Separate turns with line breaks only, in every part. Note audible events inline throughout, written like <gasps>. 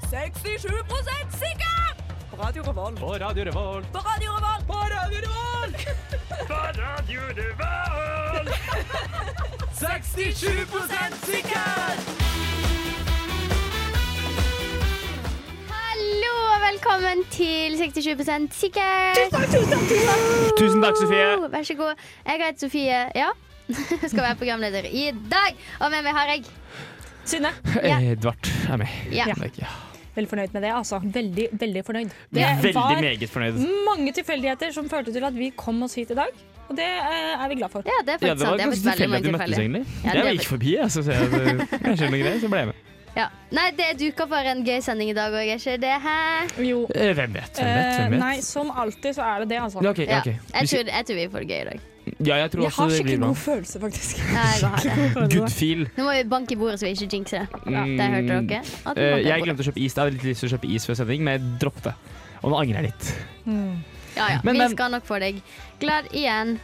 67 sikker! På Radio Revolt.
På Radio Revolt.
På Radio Revolt. På Radio <laughs> Revolt!
67 sikker!
Hallo og velkommen til 67 sikkert.
Tusen takk, Sofie.
Oh, Vær så god. Jeg heter Sofie. Ja. <laughs> Skal være programleder i dag. Og med meg har jeg
Synne,
Ja.
Eh, Edvard er med.
ja.
Ja.
Takk, ja.
veldig fornøyd med det. altså. Veldig, veldig fornøyd. Det
Veldig
var
meget fornøyd.
mange tilfeldigheter som førte til at vi kom oss hit i dag, og det eh, er vi glad for.
ja, det er
Ja, det
faktisk
var
sant. Det er
ganske
faktisk veldig
tilfeldig at vi
mange
møttes,
tilfeller.
egentlig.
Ja, det
jeg
er
gikk forbi, jeg, så så jeg at det kanskje er noe greier, så ble jeg med.
Ja. Nei, det duker for en gøy sending i dag òg, er ikke det? Hæ?
Jo.
Eh, Hvem vet? Hvem vet?
Eh,
Hvem vet?
nei, som alltid så er det det, altså.
Eh, Ja, ok,
Ja.
ok.
Jeg, tror, jeg tror vi får det gøy i dag.
ja, jeg tror
Jeg
også
har
det blir
skikkelig
bra.
god følelse, faktisk.
Ja, jeg har det.
Good feel.
Nå må vi banke i bordet så vi ikke jinxer det. Ja, det hørte dere. At
Eh,
vi banker i
jeg
bordet.
glemte å kjøpe is. Jeg hadde litt lyst til å kjøpe is før sending, men jeg droppet det. Og nå angrer jeg litt.
Ja, ja.
Men,
vi
men-
skal nok få deg glad igjen.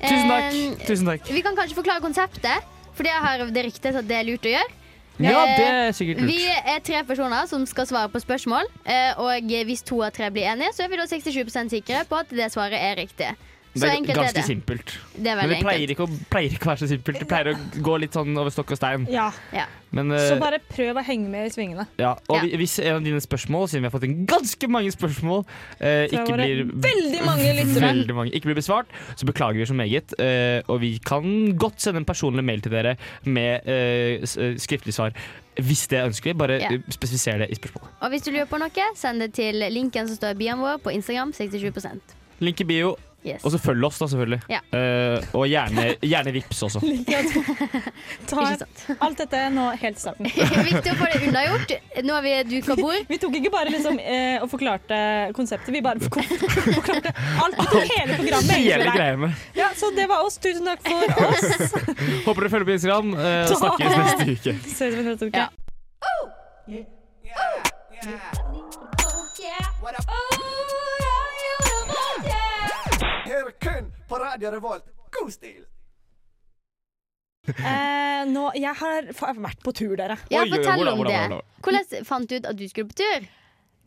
Tusen
Eh,
takk. Tusen takk.
Vi kan kanskje forklare konseptet, for det har det ryktes at det er lurt å gjøre.
Ja,
eh,
det er sikkert
Vi
lurt.
er tre personer som skal svare på spørsmål, eh, og hvis to av tre blir enige, så er vi da 67 sikre på at det svaret er riktig. Så
Det er
enkelt er
ganske
det.
simpelt.
Det er
Men
veldig
det pleier
enkelt.
ikke, å, pleier ikke å være så simpelt. Det pleier å gå litt sånn over stokk og stein.
Ja,
Men, eh,
Så bare prøv å henge med i svingene.
ja. Og
Ja.
vi- hvis en av dine spørsmål, siden vi har fått inn ganske mange spørsmål, eh,
Fra
ikke
våre
blir
veldig mange lyttere.
Veldig mange. Ikke blir besvart, så beklager vi så meget. eh, og vi kan godt sende en personlig mail til dere med eh, s- eh, skriftlig svar hvis det er ønskelig. Bare
Ja.
eh, spesifiser det i spørsmålet.
Og hvis du lurer på noe, send det til linken som står i bioen vår på Instagram. 67
Link i bio,
yes. <laughs>
og så følg oss, da, selvfølgelig.
Ja.
Eh, og gjerne, gjerne vips
<laughs>
også.
Ta
Ikke sant?
alt dette nå helt i starten.
Viktig å få det unnagjort. Nå har vi duka bord.
Vi tok ikke bare liksom, eh, og forklarte konseptet, vi bare <laughs> fork- forklarte alt. Vi tok hele programmet. egentlig,
Hele
der.
greia med.
Ja, så det var oss. Tusen takk for oss.
Håper dere følger på Instagram. eh, og
<laughs>
snakkes neste uke.
Ses vi neste uke.
Ja.
Her kun på Radio Revolt. God stil!
Eh, nå, jeg har fa- vært på tur, dere.
Ja,
Oi, oi,
fortell
hvordan,
om
hvordan,
det.
hvordan?
Hvordan fant du ut at du skulle på tur?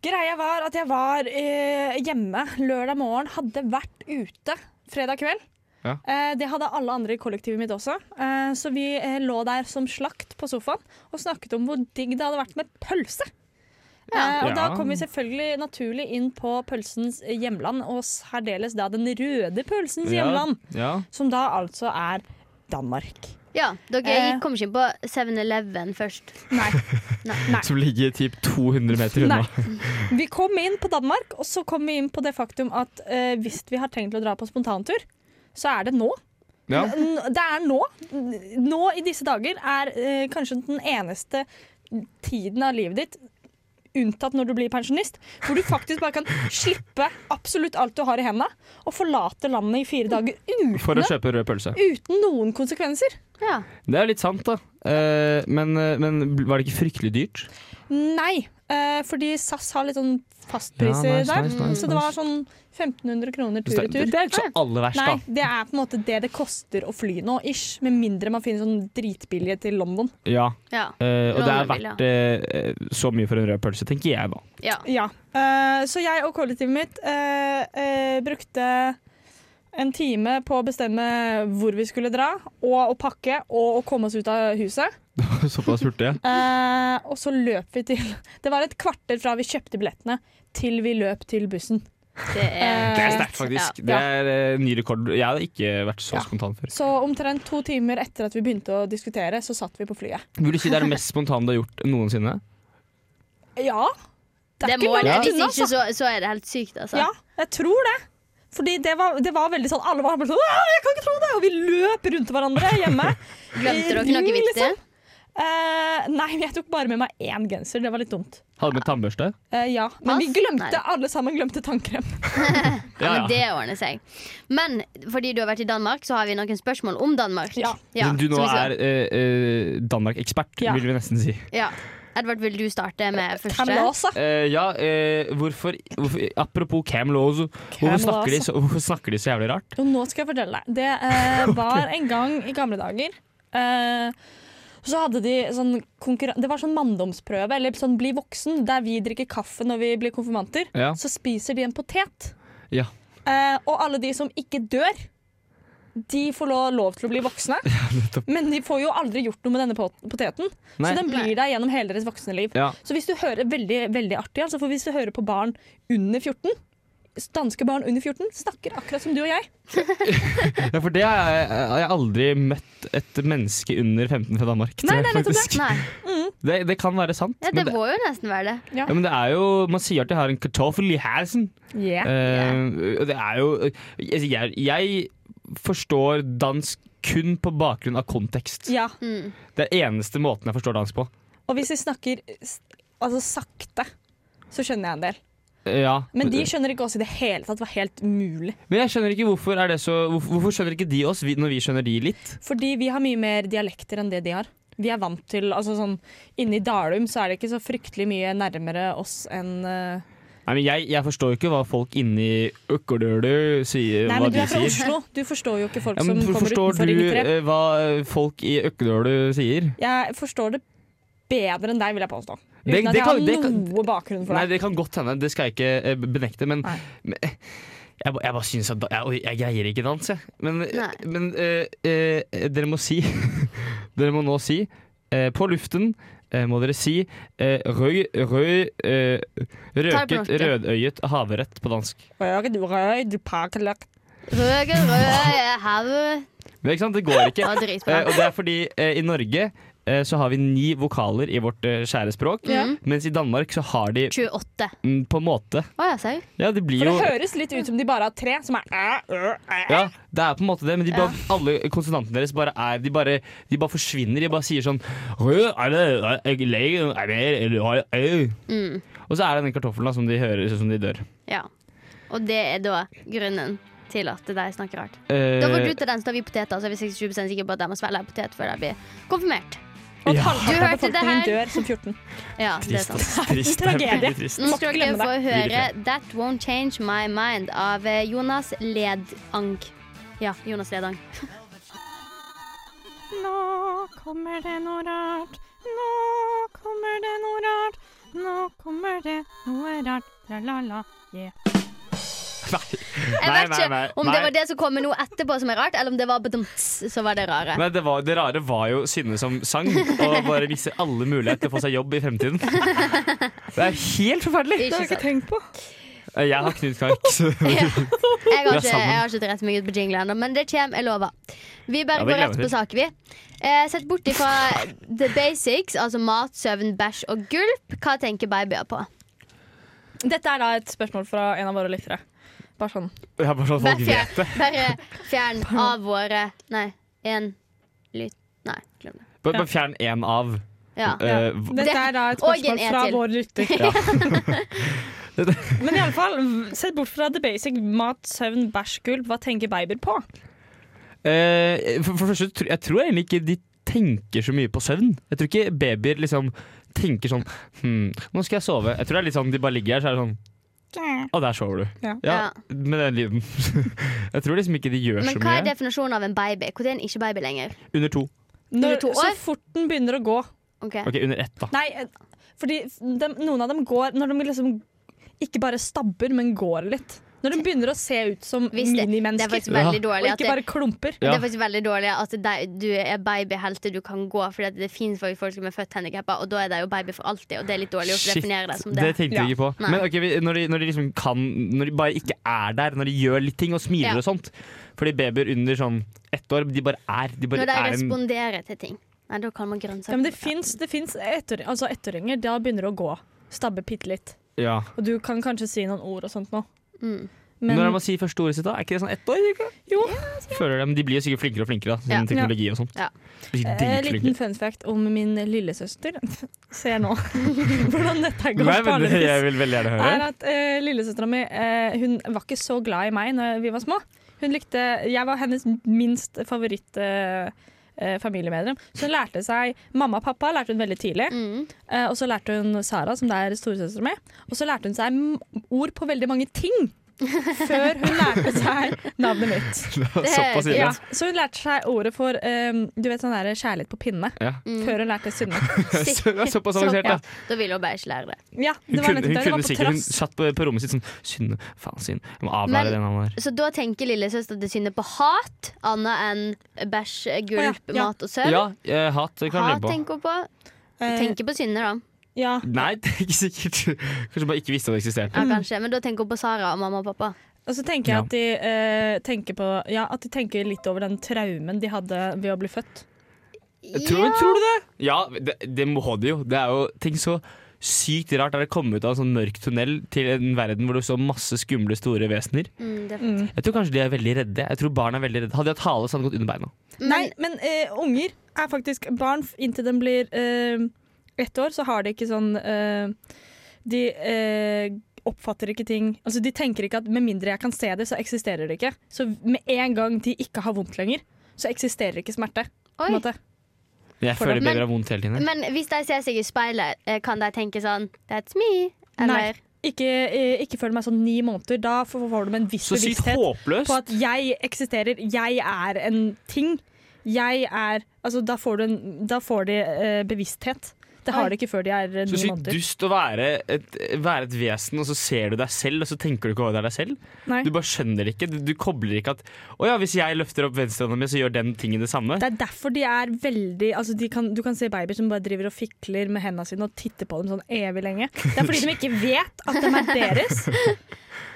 Greia var at jeg var eh, hjemme lørdag morgen, hadde vært ute fredag kveld.
Ja.
Eh, det hadde alle andre i kollektivet mitt også. Eh, så vi eh, lå der som slakt på sofaen og snakket om hvor digg det hadde vært med pølse. Eh, og
Ja.
da kom vi selvfølgelig naturlig inn på pølsens hjemland, og særdeles da den røde pølsens hjemland,
Ja.
som da altså er Danmark.
Ja, Dere
Eh.
kom ikke inn på 7-Eleven først. <laughs>
Nei. Nei.
Som ligger typ 200 meter unna.
Nei. Vi kom inn på Danmark, og så kom vi inn på det faktum at eh, hvis vi har tenkt å dra på spontantur, så er det nå.
Ja.
N- Det er nå. N- Nå i disse dager er eh, kanskje den eneste tiden av livet ditt Unntatt når du blir pensjonist, hvor du faktisk bare kan slippe absolutt alt du har i hendene, og forlate landet i fire dager
For
uten,
å kjøpe rød pølse.
uten noen konsekvenser.
Ja.
Det er litt sant, da. Eh, men, eh, men var det ikke fryktelig dyrt?
Nei, eh, fordi SAS har litt sånn fastpriser
Ja, nice,
der.
nice, nice,
så det var sånn 1500 kroner
Så Det,
tur-retur.
det er ikke så aller verst,
Nei,
da.
det er på en måte det det koster å fly nå, ish. Med mindre man finner sånn dritbillige til London.
Ja,
Ja.
eh, og det er
Lånebil, ja.
verdt eh, så mye for en rød pølse, tenker jeg da.
ja.
Ja. Eh, så jeg og kollektivet mitt eh, eh, brukte en time på å bestemme hvor vi skulle dra, og å pakke, og å komme oss ut av huset.
<laughs> Såpass hurtig?
Eh, og så løp vi til <laughs> Det var et kvarter fra vi kjøpte billettene, til vi løp til bussen.
Det er,
Det er
Eh,
sterkt, faktisk.
Ja.
Det er eh, ny rekord. Jeg hadde ikke vært så
Ja.
spontan før.
Så omtrent to timer etter at vi begynte å diskutere, så satt vi på flyet.
Vil du si det er det mest spontane du har gjort noensinne?
Ja.
Det
ikke
må
langt
det.
unna, altså.
Hvis ikke, så, så er det helt sykt, altså.
Ja, jeg tror det. Fordi det var, det var veldig sånn Alle var bare sånn «Åh, Jeg kan ikke tro det! Og vi løp rundt hverandre hjemme.
Glemte dere
Ring,
noe viktig?
liksom. Eh, nei, jeg tok bare med meg én genser. Det var litt dumt.
Hadde med tannbørste?
Eh, ja, Men vi
Pass?
glemte,
Nei.
alle sammen glemte tannkrem.
Ja, men det ordner seg. Men fordi du har vært i Danmark, så har vi noen spørsmål om Danmark.
Ja.
Ja,
Men du nå
som vi skal-
er eh, eh, Danmark-ekspert,
Ja.
vil vi nesten si.
ja. Edvard, vil du starte med første?
Kamlasa.
Eh, ja, eh, hvorfor, hvorfor Apropos Cam Laws,
Cam
hvorfor, snakker de
Laws.
så- hvorfor snakker de så jævlig rart? <laughs>
Jo, nå skal jeg fortelle deg. Det eh, var en gang i gamle dager eh, Så hadde de sånn konkurran- Det var sånn manndomsprøve, eller sånn bli voksen, der vi drikker kaffe når vi blir konfirmanter.
Ja.
Så spiser de en potet.
Ja.
Eh, og alle de som ikke dør, de får lov, lov til å bli
<laughs>
voksne. men de får jo aldri gjort noe med denne pot- poteten,
Nei.
så den blir
Nei.
der gjennom hele deres voksne liv.
Ja.
Så hvis du hører veldig, veldig artig, altså for hvis du hører på barn under 14 Danske barn under 14 snakker akkurat som du og jeg.
ja, for det har jeg, har jeg aldri møtt et menneske under 15 fra Danmark. tror
Nei,
jeg
nei, nettopp
faktisk.
Nei.
Det, det kan være sant.
Ja, det
men, det,
må jo nesten være det.
ja, men det er jo Man sier at de har en kartoffel i halsen.
Yeah.
Eh, og det er jo jeg, jeg- jeg forstår dansk kun på bakgrunn av kontekst.
Ja.
Mm.
Det er eneste måten jeg forstår dansk på.
Og hvis vi snakker s- altså sakte, så skjønner jeg en del.
Eh, Ja.
Men de skjønner ikke oss i det hele tatt. Det var helt umulig.
Men jeg skjønner ikke hvorfor er det så Hvorfor, hvorfor skjønner ikke de oss vi, når vi skjønner de litt?
Fordi vi har mye mer dialekter enn det de har. Vi er vant til altså sånn, Inne i Dalum så er det ikke så fryktelig mye nærmere oss enn eh,
Nei, men jeg, jeg forstår jo ikke hva folk inni Økkerdølu sier.
Nei,
hva
men du
de
er fra
sier.
Oslo. Du forstår jo ikke folk
Ja,
som
men for-
kommer
forstår
utenfor
du
Ring 3.
eh, hva eh, folk i Økkedølu sier?
Jeg forstår det bedre enn deg, vil jeg påstå. Uten
Det-
at
det
jeg
kan-
har
det kan-
noe bakgrunn for
Nei,
det.
det kan godt hende, det skal jeg ikke eh, benekte, men,
Nei.
men eh, jeg, ba- jeg bare syns at da, jeg, oi, jeg greier ikke dans, jeg. Men, eh,
Nei.
men eh, eh, dere må si <laughs> Dere må nå si, eh, på luften eh, må dere si eh, røy, røy, eh,
på
røket,
norsk, ja.
rødøyet havrett på dansk.
Røy, du røy, du pakeløk.
Røge, røde, hau.
Men, ikke sant? Det går
<laughs>
ikke.
Det var
Eh,
dritbra.
og det er fordi eh, i Norge eh, så har vi ni vokaler i vårt eh, kjære språk,
Ja.
Mm.
mens i Danmark så har de
28.
mm, på en måte
Å ja, sau.
Ja, det blir
For
jo
det høres litt ut som de bare har tre, som er æ, ø, æ.
Ja, det er på en måte det, men de bare, alle konsonantene deres bare er De bare, de bare forsvinner. De bare sier sånn «Rød, er det, er jeg lei, er det, er det, er det, er
Mm.
det?» Og så er det den kartoffelen da, som de hører som de dør.
Ja. Og det er da grunnen til at de snakker rart.
Eh,
Da får du til den står vi poteter, så er vi 67 sikre på at de må svelge en potet før de blir konfirmert.
Og
Ja.
at halvparten
Du
av
hørte det
befolkningen
her.
dør som 14.
Ja, altså. det er sånn.
trist,
sant.
ass.
<laughs>
Trist. Det er
Tragedie.
veldig trist.
Nå
Må ikke
skal
glemme
dere få
det.
høre That Won't Change My Mind av eh, Jonas Ledang. Ja, Jonas Ledang.
Nå kommer det noe rart. Nå kommer det noe rart. Nå kommer det noe rart. Tra-la-la, yeah.
Jeg
Nei,
vet
nei, nei,
ikke om det
nei.
var det som kommer nå etterpå som er rart, eller om det var bedumts, så var det rare.
Nei, det, var, det rare var jo Synne som sang, og bare viser alle muligheter til å få seg jobb i fremtiden.
<laughs>
Det er helt forferdelig!
Ikke sant.
tenkt på.
Jeg har Knut Kark. så-
<laughs>
Vi
Jeg har
er
ikke,
sammen.
jeg har ikke drept meg ut på jingle ennå, men det kommer, jeg lover. Vi bare
Ja, vi
går
gleder
rett på
til.
sak, vi. Eh, sett bort ifra the basics, altså mat, søvn, bæsj og gulp, hva tenker babyer på?
Dette er da et spørsmål fra en av våre lyttere. Bare sånn.
Jeg har bare sånn at
Bare
folk vet det.
fjern, bare fjern av våre Nei, én lytt... Nei, glem det.
Bare bare fjern én av.
Ja.
eh,
Dette er da et
Og
spørsmål
en en
fra
til.
vår lytter.
Ja.
<laughs> Men i alle fall, sett bort fra the basic mat, søvn, bæsj, gulp. Hva tenker babyer på?
Eh, for, for det første, tr- jeg tror egentlig ikke de tenker så mye på søvn. Jeg tror ikke babyer liksom tenker sånn hm, 'Nå skal jeg sove.' Jeg tror det er litt sånn de bare ligger her, så er det sånn 'Å, der sover du'.
Ja.
Ja.
Med den lyden. <laughs> jeg tror liksom ikke de gjør
Men
så
hva
mye.
er definisjonen av en baby? Når er en ikke baby lenger?
Under to.
Når,
to
så
år?
fort den begynner å gå.
Ok,
Ok, under ett, da.
Nei, eh, fordi dem- noen av dem går når de liksom ikke bare stabber, men går litt. Når de begynner å se ut som
Hvis det- Det er
minimennesker.
faktisk veldig
Og
dårlig at
ikke
det,
bare klumper.
det
Ja.
er faktisk veldig dårlig at de- du er baby helt til du kan gå. Fordi at det finnes faktisk folk som er født handikappa, og da er de jo baby for alltid. Og det er litt dårlig å definere det som det.
det tenkte jeg ikke på.
Nei.
Men ok, vi- når de, når de liksom kan Når de bare ikke er der, når de gjør litt ting og smiler
Ja.
og sånt. Fordi babyer under sånn ett år, de bare er. De bare
Når de
er en
responderer til ting. Nei, da kan man
Ja, men det
grønnsaker.
fins ettåringer. Altså ettåringer da begynner det å gå. Stabbe bitte litt.
ja.
Og du kan kanskje si noen ord og sånt nå.
Mm.
Men
Når er det man sier første ordet sitt, da? Er ikke det sånn ett år? Ikke?
Jo.
Føler det, men de blir jo sikkert flinkere og flinkere, da. Sånn
Ja.
teknologi og sånt.
Ja.
De blir
eh, liten
dritflinke.
fun fact om min lillesøster. <laughs> Ser nå hvordan dette går.
Nei, men det-
vanligvis.
jeg vil veldig gjerne
er
høre.
at eh, lillesøstera mi eh, Hun var ikke så glad i meg når vi var små. Hun likte, Jeg var hennes minst favoritt eh, eh, familiemedlem. Så hun lærte seg Mamma og pappa lærte hun veldig tidlig.
Mm.
Eh, og så lærte hun Sara, som det er storesøstera mi. Og så lærte hun seg m- ord på veldig mange ting. før hun lærte seg navnet mitt.
<laughs> Såpass ille.
Ja, så hun lærte seg ordet for ehm, du vet sånn der kjærlighet på pinne.
Ja. <laughs>
Før hun lærte Synne.
Så, det er såpass
Så-
avansert,
ja,
da.
Da ville hun bare ikke lære det.
Ja,
Hun
det var nettopp
kunne,
det.
hun
Det
kunne
var på
sikkert Hun
trass.
satt på, på rommet sitt sånn Synne, faen Synne. Jeg må avlære
Men-
det navnet der.
Så da tenker lillesøster til Synne på hat, annet enn bæsj,
Å,
gulp,
ja, ja.
mat og søvn.
Ja, eh, hat det kan jeg
Hat
leve på.
tenker hun på.
Eh,
Tenker på Synne, da.
ja.
Nei, det er ikke sikkert. Kanskje hun bare ikke visste at det eksisterte.
Ja, kanskje. Men da tenker hun på Sara og mamma og pappa.
Og så tenker jeg at de, eh, tenker på, ja, at de tenker litt over den traumen de hadde ved å bli født.
Tror,
Ja.
tror du det? Ja, det, det må det jo. Det er jo ting så sykt rart er å komme ut av en sånn mørk tunnel til en verden hvor du så masse skumle, store vesener.
Mm, det
Jeg tror kanskje de er veldig redde. Jeg tror barn er veldig redde. Hadde de hatt hale, så hadde de gått under beina.
Nei, men eh, unger er faktisk barn f- inntil de blir eh, ett år, så har de ikke sånn eh, De eh, oppfatter ikke ting Altså, de tenker ikke at med mindre jeg kan se det, så eksisterer det ikke. Så med en gang de ikke har vondt lenger, så eksisterer ikke smerte. På
Oi.
en måte.
Jeg
For
føler
det-
babyer har vondt hele tiden.
Men hvis de ser seg i speilet, eh, kan de tenke sånn That's me. Eller
Ikke, eh, ikke føl meg sånn ni måneder. Da får får de en viss
Så sykt
bevissthet. på
håpløst.
at jeg eksisterer, jeg er en ting. Jeg er Altså, da får, du en, da får de eh, bevissthet. Det har
Oi.
de ikke før de er eh,
Så
ni
sykt
måneder.
dust å være et, være et vesen, og så ser du deg selv, og så tenker du ikke over deg selv.
Nei.
Du bare skjønner ikke. Du, du kobler ikke at Å ja, hvis jeg løfter opp venstrehånda mi, så gjør den tingen det samme.
Det er derfor de er veldig altså de kan, Du kan se babyer som bare driver og fikler med hendene sine og titter på dem sånn evig lenge. Det er fordi de ikke vet at de er deres.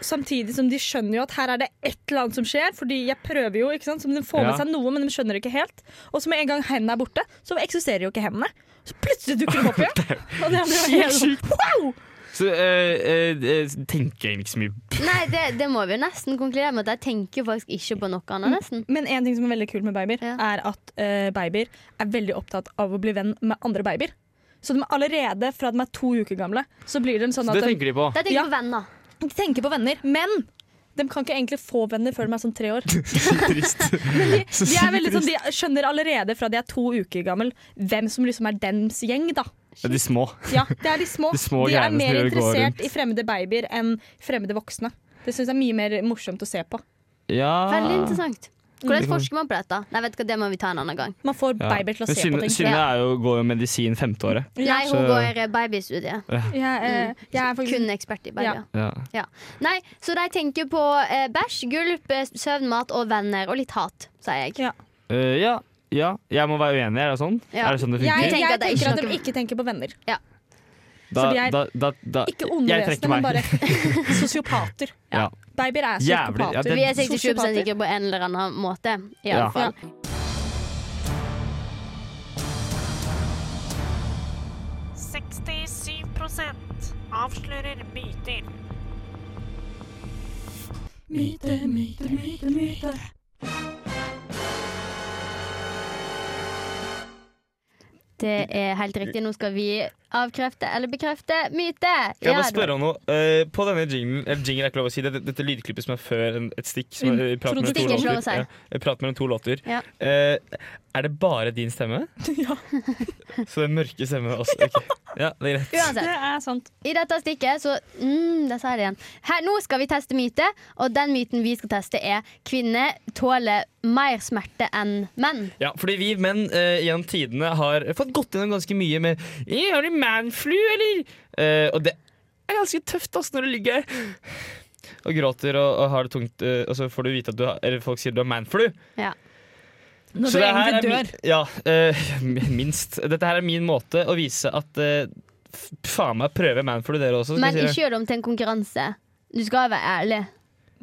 Samtidig som de skjønner jo at her er det et eller annet som skjer. Fordi jeg prøver jo, ikke sant? Så de får
Ja.
med seg noe, men de skjønner ikke helt. Og så med en gang hendene er borte, så eksisterer jo ikke hendene. Så plutselig dukker de opp
<laughs>
igjen. Og det blir helt sånn wow!
Så eh, eh, tenker jeg egentlig ikke så mye
<laughs> Nei, det, det må vi jo nesten konkludere med at de tenker faktisk ikke på noe
Mm.
annet, nesten.
Men en ting som er veldig kult med babyer,
Ja.
er at eh, babyer er veldig opptatt av å bli venn med andre babyer. Så de er allerede fra de er to uker gamle, så blir de sånn
Så
at
det
de,
tenker de på.
De tenker
Ja.
på venner.
de tenker på venner. Men de kan ikke egentlig få venner før de er sånn tre
<laughs>
år.
<laughs> Trist.
<laughs> De, er veldig sånn, de skjønner allerede fra de er to uker gammel hvem som liksom er dems gjeng, da.
Ja, de små.
Ja, det er de små.
De små
de er
greiene som
mer
gjør det går
interessert
rundt.
i fremmede babyer enn fremmede voksne. Det syns jeg er mye mer morsomt å se på.
Ja.
Veldig interessant.
Mm.
Hvordan forsker man på dette? Nei, vet du hva, Det må vi ta en annen gang.
Man får
Ja.
babyer til å
Men
se på
Synne,
ting.
Synne er jo, går jo medisin femteåret.
Ja,
Nei, hun
så-
går eh, babystudiet.
Jeg, eh, jeg er faktisk
Kun ekspert i babyer.
Ja.
Ja.
Ja. Nei, så de tenker på eh, bæsj, gulp, eh, søvnmat og venner og litt hat, sier jeg.
Ja.
Eh, ja. ja. Jeg må være uenig, er det sånn?
Ja.
Er det sånn det
Jeg,
funker?
jeg
tenker
tenker
at det er ikke
at de
noe-
ikke tenker på venner.
da,
så de er
da, da, da,
Ikke onde
jeg
vesener,
trekker
men
meg.
bare <laughs> sosiopater.
Ja.
Babyer er
Jævlig, ja,
sosiopater.
det-
Vi er 67
Sosiopater.
sikre på en eller annen måte. I
Ja.
alle fall.
avslører myter.
Det er helt riktig. Nå skal vi avkrefte eller bekrefte myte.
Jeg
Ja,
må
det-
spørre om noe. Eh, på denne jinglen, eller jingle er ikke lov å si, dette, dette lydklippet som er før en, et stikk som er, prat mellom to låter,
Introduksjon. Mm. Ikke lov å si.
ja, eh, prat mellom to låter.
Ja.
Eh, er det bare din
<laughs>
stemme?
Ja.
Så det er mørke stemme også? ok. Ja, det er greit.
Uansett.
Det er sant.
I dette stikket så mm, Der sa jeg det igjen. Her, nå skal vi teste myte, og den myten vi skal teste, er kvinner tåler mer smerte enn menn.
Ja, fordi vi menn eh, gjennom tidene har fått gått gjennom ganske mye med «Eh, Har du manflu, eller? Eh, og det er ganske tøft ass, når du ligger og gråter og, og har det tungt, eh, og så får du vite at du har, eller folk sier du har manflu.
Ja.
Når
Så
du
det her
egentlig
er
dør.
mi- Ja, eh, <laughs> minst. Dette her er min måte å vise at eh, f- faen meg prøve manflu dere også. Skal
Men
jeg si
ikke gjør det om til en konkurranse. Du skal være ærlig.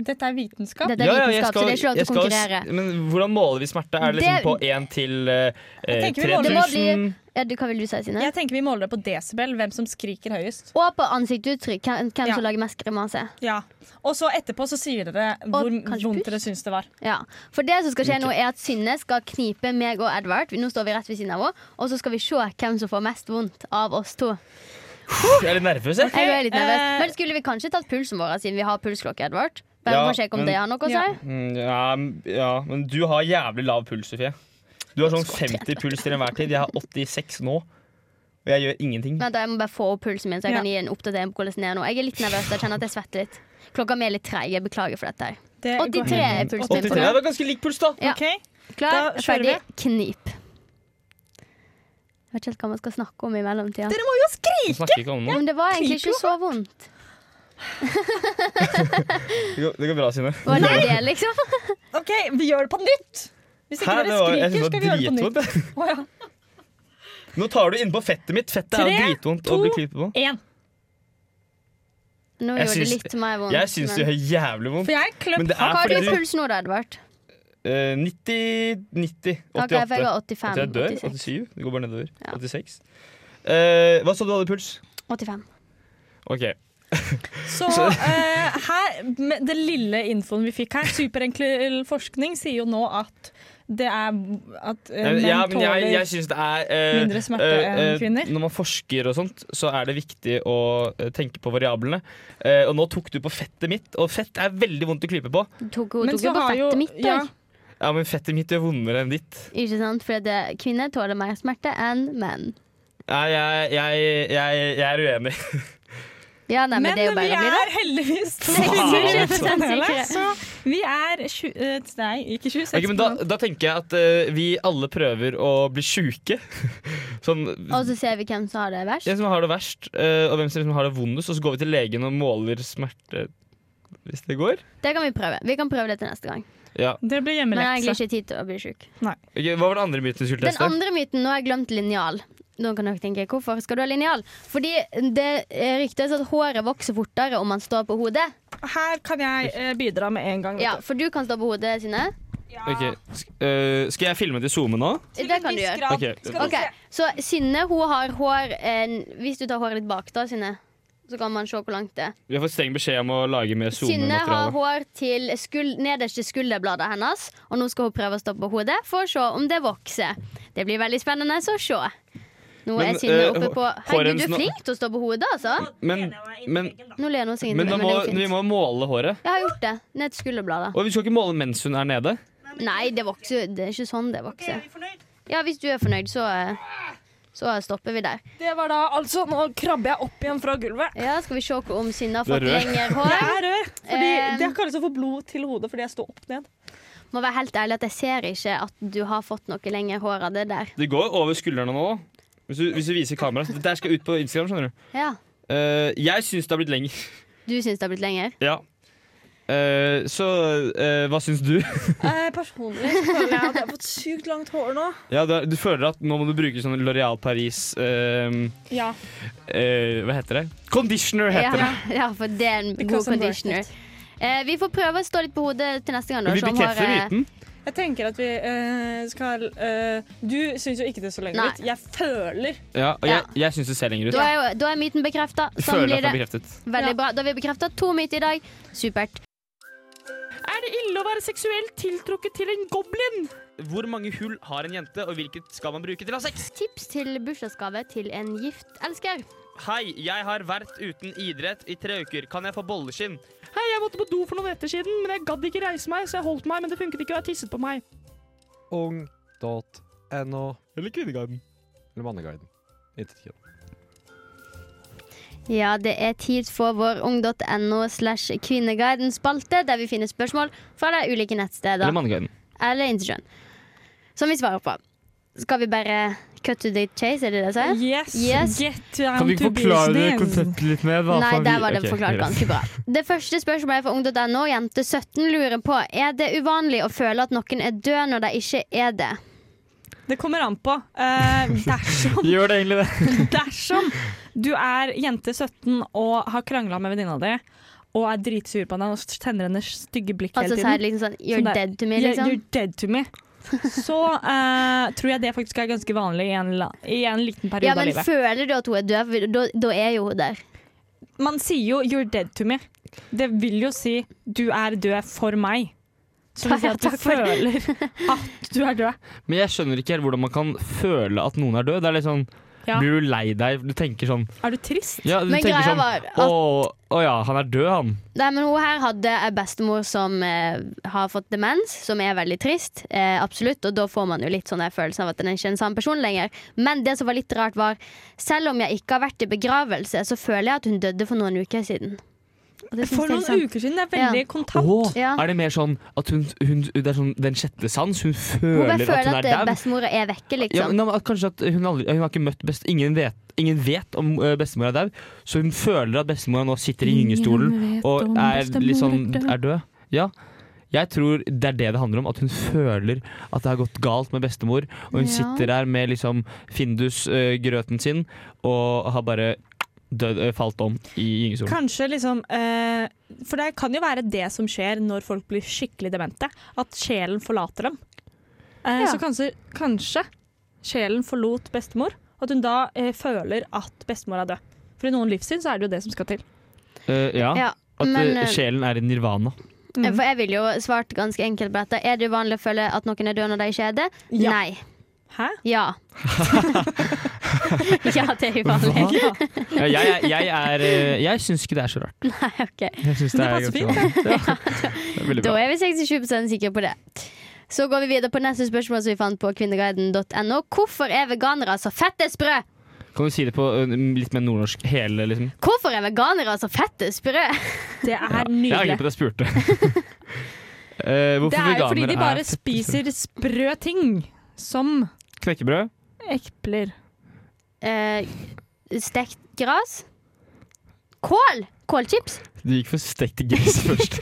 Dette er vitenskap.
Dette er vitenskap, så det er ikke lov til å konkurrere.
men hvordan måler vi smerte? Er det liksom
Det-
på 1 til eh,
Jeg tenker vi
3000?
måler- Det
må bli- Ja, du, hva vil du si, Sine?
Jeg tenker vi måler det på desibel, hvem som skriker høyest.
Og på ansiktsuttrykk. Hvem, hvem
Ja.
som lager mest grimase.
Ja. Og så etterpå så sier dere hvor
kanskje
vondt
pust?
dere syns det var.
Ja. For det som skal skje nå, er at Synne skal knipe meg og Edvard. Nå står vi rett ved siden av henne. Og så skal vi se hvem som får mest vondt av oss to.
Jeg er litt nervøs, jeg.
Jeg er litt nervøs.
eh,
Men skulle vi kanskje tatt pulsen vår, siden vi har pulsklokke, Edvard? Bare
Ja,
for å sjekke om
men-
det har noe å si.
Ja.
Mm, Ja, m- ja, men du har jævlig lav puls, Sofie. Du har sånn 50 puls til enhver tid. Jeg har 86 nå.
Og jeg gjør ingenting.
Vent, da, jeg må bare få opp pulsen min, så jeg kan gi en oppdatering på hvordan det er nå. Jeg er litt nervøs, jeg kjenner at jeg svetter litt. Klokka mi er litt treig, jeg beklager for dette. her
Det går
83
helt-
er pulsen
83,
min.
Mm. det
på nå.
var ganske lik puls, da.
Ja.
Ok.
Klar,
Da kjører vi.
ferdig, knip. Jeg vet ikke helt hva man skal snakke om i mellomtida.
Dere må jo skrike!
Vi snakker ikke om noe.
Men det var egentlig
Kniper jo
ikke så vondt.
Det går, det går bra, Sine.
Var det det, liksom?
OK, vi gjør det på nytt! Hvis ikke
Hæ, det
dere
var, jeg
skriker,
synes
skal
det
vi gjøre
var
det på nytt.
dritvondt. jeg.
Å ja.
Nå tar du innpå fettet mitt. Fettet er jo
Tre,
dritvondt
to,
å bli klippet på.
Én.
Nå
Jeg
gjorde det
syns-
litt mer vondt.
Jeg syns det
men-
gjør jævlig vondt.
For jeg kløp
Men det
Hva
er
har du
fordi
i
du
puls nå, da, Edvard?
eh, 90, 90,
Ok, for jeg
88.
har
At
85,
jeg dør.
86.
87. Det går bare nedover.
Ja.
86. Eh, hva sa du hadde i puls?
85.
OK.
Så eh, her, med det lille infoen vi fikk her, superenkel forskning sier jo nå at det er at eh, menn
ja, men
tåler
jeg, jeg syns det er eh,
mindre smerte
eh, eh,
enn kvinner.
Når man forsker og sånt, så er det viktig å eh, tenke på variablene. Eh, og nå tok du på fettet mitt, og fett er veldig vondt å klype på.
Du tok jo tok jo på fettet mitt, da.
ja,
Ja, men fettet mitt gjør vondere enn ditt.
Ikke sant? For det, kvinner tåler mer smerte enn menn.
Nei, jeg, jeg, jeg, jeg er uenig.
Ja, nei, men,
Men
det er jo
vi
bare å bli det.
er heldigvis to
Faen,
kvinner i
altså.
panelet, så vi er tju- eh, Nei, ikke 26
Ok, men da, da tenker jeg at eh, vi alle prøver å bli sjuke. <laughs> sånn
Og så ser vi hvem som har det verst.
Hvem som har det verst, eh, og hvem som liksom har det vondest, og så går vi til legen og måler smerte. Hvis det går.
Det kan vi prøve. Vi kan prøve det til neste gang.
Ja.
Det blir
Men jeg har egentlig
hjemmelekse.
ikke tid til å bli sjuk.
Ok, hva var den andre myten du skulle
Den
teste?
andre myten, nå har jeg glemt linjal. Nå kan dere tenke, Hvorfor skal du ha linjal? Fordi det eh, ryktes at håret vokser fortere om man står på hodet.
Her kan jeg eh, bidra med en gang. vet
Ja,
du.
For du kan stå på hodet, Synne.
Ok, sk- eh, skal jeg filme til SoMe nå?
Til
Det
en
kan du
viss
gjøre.
grad.
Ok.
Skal vi
Ok,
se.
Så Synne hun har hår eh, Hvis du tar håret litt bak, da, Synne, så kan man se hvor langt det er.
Vi har fått streng beskjed om å lage mer
Synne har
SoMe-materiale.
hår til skul nederst til skulderbladet hennes, og nå skal hun prøve å stå på hodet for å se om det vokser. Det blir veldig spennende å se. Nå
Men,
er Synne
eh,
oppe på
hår- håret
Herregud, du
hennes nå-
er flink til å stå på hodet, altså.
Men, men,
Nå ler hun så ingenting,
men da
men,
må,
det er
vi
jo fint.
må måle håret.
Jeg har gjort det. Ned til skulderbladet.
Og vi skal ikke måle mens hun er nede.
Nei, det vokser jo Det er ikke sånn det vokser. Ja, hvis du er fornøyd, så eh, så stopper vi der.
Det var da altså Nå krabber jeg opp igjen fra gulvet.
Ja, Skal vi se om Synne har
Det er
fått
rød.
lengre
Det
<laughs> hår?
er rør. Fordi
Eh,
det er ikke alle som får blod til hodet fordi jeg står opp ned.
Må være helt ærlig at jeg ser ikke at du har fått noe lengre hår av det der.
Det går over skuldrene nå. Hvis du, hvis du viser kamera. Dette her skal ut på Instagram. skjønner du
Ja,
Eh, Jeg syns det har blitt lenger.
Du syns det har blitt lenger?
Ja. Eh, så eh, hva syns du?
Eh, personlig så føler jeg at jeg har fått sykt langt hår nå.
Ja, du, du føler at nå må du bruke sånn Loreal Paris eh,
Ja.
eh, Hva heter det? Conditioner
Ja,
heter det.
ja, for det er en god
Because I'm worth
conditioner. Eh, vi får prøve å stå litt på hodet til neste gang. Da,
Men vi
så om
bekrefter
håret-
myten.
Jeg tenker at vi eh, skal eh, Du syns jo ikke det så lenge
Nei.
ut. Jeg føler
Ja, og jeg, jeg syns det ser lenger ut.
da, er jo, da er myten bekrefta.
Jeg
Sånn
føler
blir
at det er
det.
bekreftet.
Veldig bra. Da har vi bekrefta to myter i dag. Supert.
Er det ille å være seksuelt tiltrukket til en goblin?
Hvor mange hull har en jente, og hvilket skal man bruke til å ha sex?
Tips til bursdagsgave til en gift elsker.
Hei, jeg har vært uten idrett i tre uker. Kan jeg få bolleskinn?
Hei, jeg måtte på do for noen netter siden, men jeg gadd ikke reise meg, så jeg holdt meg, men det funket ikke, og jeg tisset på meg.
Ung.no
Eller Kvinneguiden.
eller Manneguiden. Intet kjønn.
Ja, det er tid for vår ung.no slash kvinneguiden-spalte, der vi finner spørsmål fra de ulike nettsteder.
Eller Manneguiden.
Eller interkjønn. Som vi svarer på. Skal vi bare cut to the chase, er det det jeg sier?
Yes,
Yes.
get down to business.
litt mer?
Nei, der var det forklart ganske bra. Det første spørsmålet fra ung.no, jente 17, lurer på Er det uvanlig å føle at noen er død når de ikke er det.
Det kommer an på. Eh, dersom,
<laughs> Gjør det egentlig det?
<laughs> dersom du er jente 17 og har krangla med venninna di og er dritsur på henne og sender henne stygge blikk
Altså
hele
så er
tiden
det liksom sånn You're
Sånn der,
dead to me,
Yeah,
liksom.
You're dead to me. Så eh, tror jeg det faktisk er ganske vanlig i en, la- i en liten periode
Ja, men
av livet.
føler du at hun er død, for da, da er jo hun der.
Man sier jo 'you're dead to me'. Det vil jo si 'du er død for meg'. Så
Ja,
vil si
<laughs> ja,
at du
takk for det.
føler at du er død.
Men jeg skjønner ikke helt hvordan man kan føle at noen er død. Det er litt sånn
Ja.
Blir du lei deg? Du tenker sånn
Er du trist?
Ja, du
Men
tenker
greia
sånn
var at-
å, å ja, han er død, han.
Nei, men Hun her hadde ei bestemor som eh, har fått demens, som er veldig trist. Eh, absolutt, Og da får man jo litt sånn der følelsen av at den ikke er en sann person lenger. Men det som var litt rart var selv om jeg ikke har vært i begravelse, så føler jeg at hun dødde for noen uker siden. Og det synes
For
jeg er
noen
sant.
uker siden. Det er veldig
Ja.
kontant.
Å,
Ja.
Er det mer sånn at hun, hun Det er sånn den sjette sans? Hun
Hun
føler
bare
at
føler
hun
at
er
eh,
dau?
bestemora er vekke,
Ja,
liksom.
men at kanskje at hun, aldri, hun har ikke møtt best, ingen, vet, ingen vet om eh, bestemor er dau, så hun føler at bestemora nå sitter i gyngestolen og er, litt sånn, er død. Ja. Jeg tror det er det det handler om, at hun føler at det har gått galt med bestemor. Og hun
Ja.
sitter der med liksom Findus-grøten sin og har bare dødd, eh, falt om i gyngestolen.
Kanskje liksom eh, For det kan jo være det som skjer når folk blir skikkelig demente. At sjelen forlater dem. Eh,
Ja.
Så kanskje, kanskje sjelen forlot bestemor, og at hun da eh, føler at bestemor er død. For i noen livssyn så er det jo det som skal til.
Eh, ja.
Ja,
At
men,
eh,
eh,
sjelen er i nirvana.
Mm.
For jeg ville jo svart ganske enkelt på dette. Er det uvanlig å føle at noen er død når de ikke er det?
Ja.
Nei.
Hæ?
Ja. <laughs> ja, det er uvanlig.
Ja.
Ja, jeg jeg, jeg, er, eh, jeg syns ikke det er så
<laughs>
rart.
Nei, ok.
Jeg synes det,
Det
er
passer
ganske
fint,
vanlig.
<laughs>
Ja. Det er veldig
Da
bra.
er vi 67 sikre på det. Så går vi videre på neste spørsmål som vi fant på kvinneguiden.no. Hvorfor er veganere så fette sprø?
Kan du si det på ø, litt mer nordnorsk? Hele, liksom?
Hvorfor er veganere så fette sprø?
Det er
Jeg
nydelig.
angrer på at
<laughs>
jeg spurte. Eh, hvorfor
Det er jo
veganer
fordi de
er
bare
fett-
spiser sprø ting. Som
Knekkebrød?
epler.
Eh, stekt gras? Kål? Kålchips?
Du gikk for stekt
<laughs>
gris først.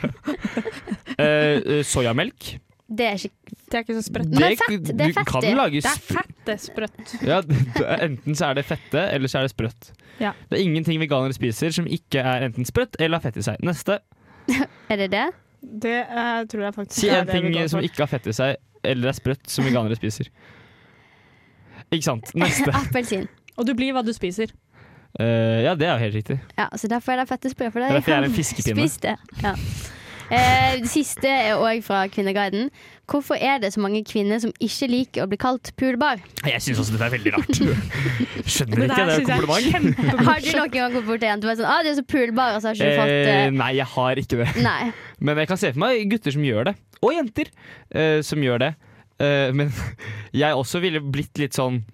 Eh, eh, soyamelk?
Det er ikke
Det er ikke så sprøtt.
Men fett, det er
du kan
fettig.
lage
Det er
sp-
fett, det er sprøtt.
ja, d- Enten så er det fette, eller så er det sprøtt.
Ja.
Det er ingenting veganere spiser som ikke er enten sprøtt eller har fett i seg. Neste.
Er det det?
Det eh, tror jeg faktisk
Si
er
en
det vi
ting
går for.
som ikke har fett i seg, eller er sprøtt, som veganere spiser. Ikke sant. Neste.
<laughs>
<laughs> Appelsin.
Og du blir hva du spiser.
Eh, ja, det er jo helt riktig.
Ja, så derfor er det fette sprø. For det
Det er derfor jeg er en fiskepinne.
<laughs> Spis det. Ja. Eh, det siste er òg fra Kvinneguiden. Hvorfor er det så mange kvinner som ikke liker å bli kalt pulbar?
Jeg syns også dette er veldig <laughs> rart. Skjønner
Det
ikke,
der
det er
synes jeg er
kompliment.
Har du noen gang gått bort til en jente og vært sånn ah, 'Du er så pulbar', og så har ikke du fått
Eh,
eh,
nei, jeg har ikke det.
Nei.
Men jeg kan se for meg gutter som gjør det. Og jenter eh, som gjør det. Eh, men <laughs> jeg også ville blitt litt sånn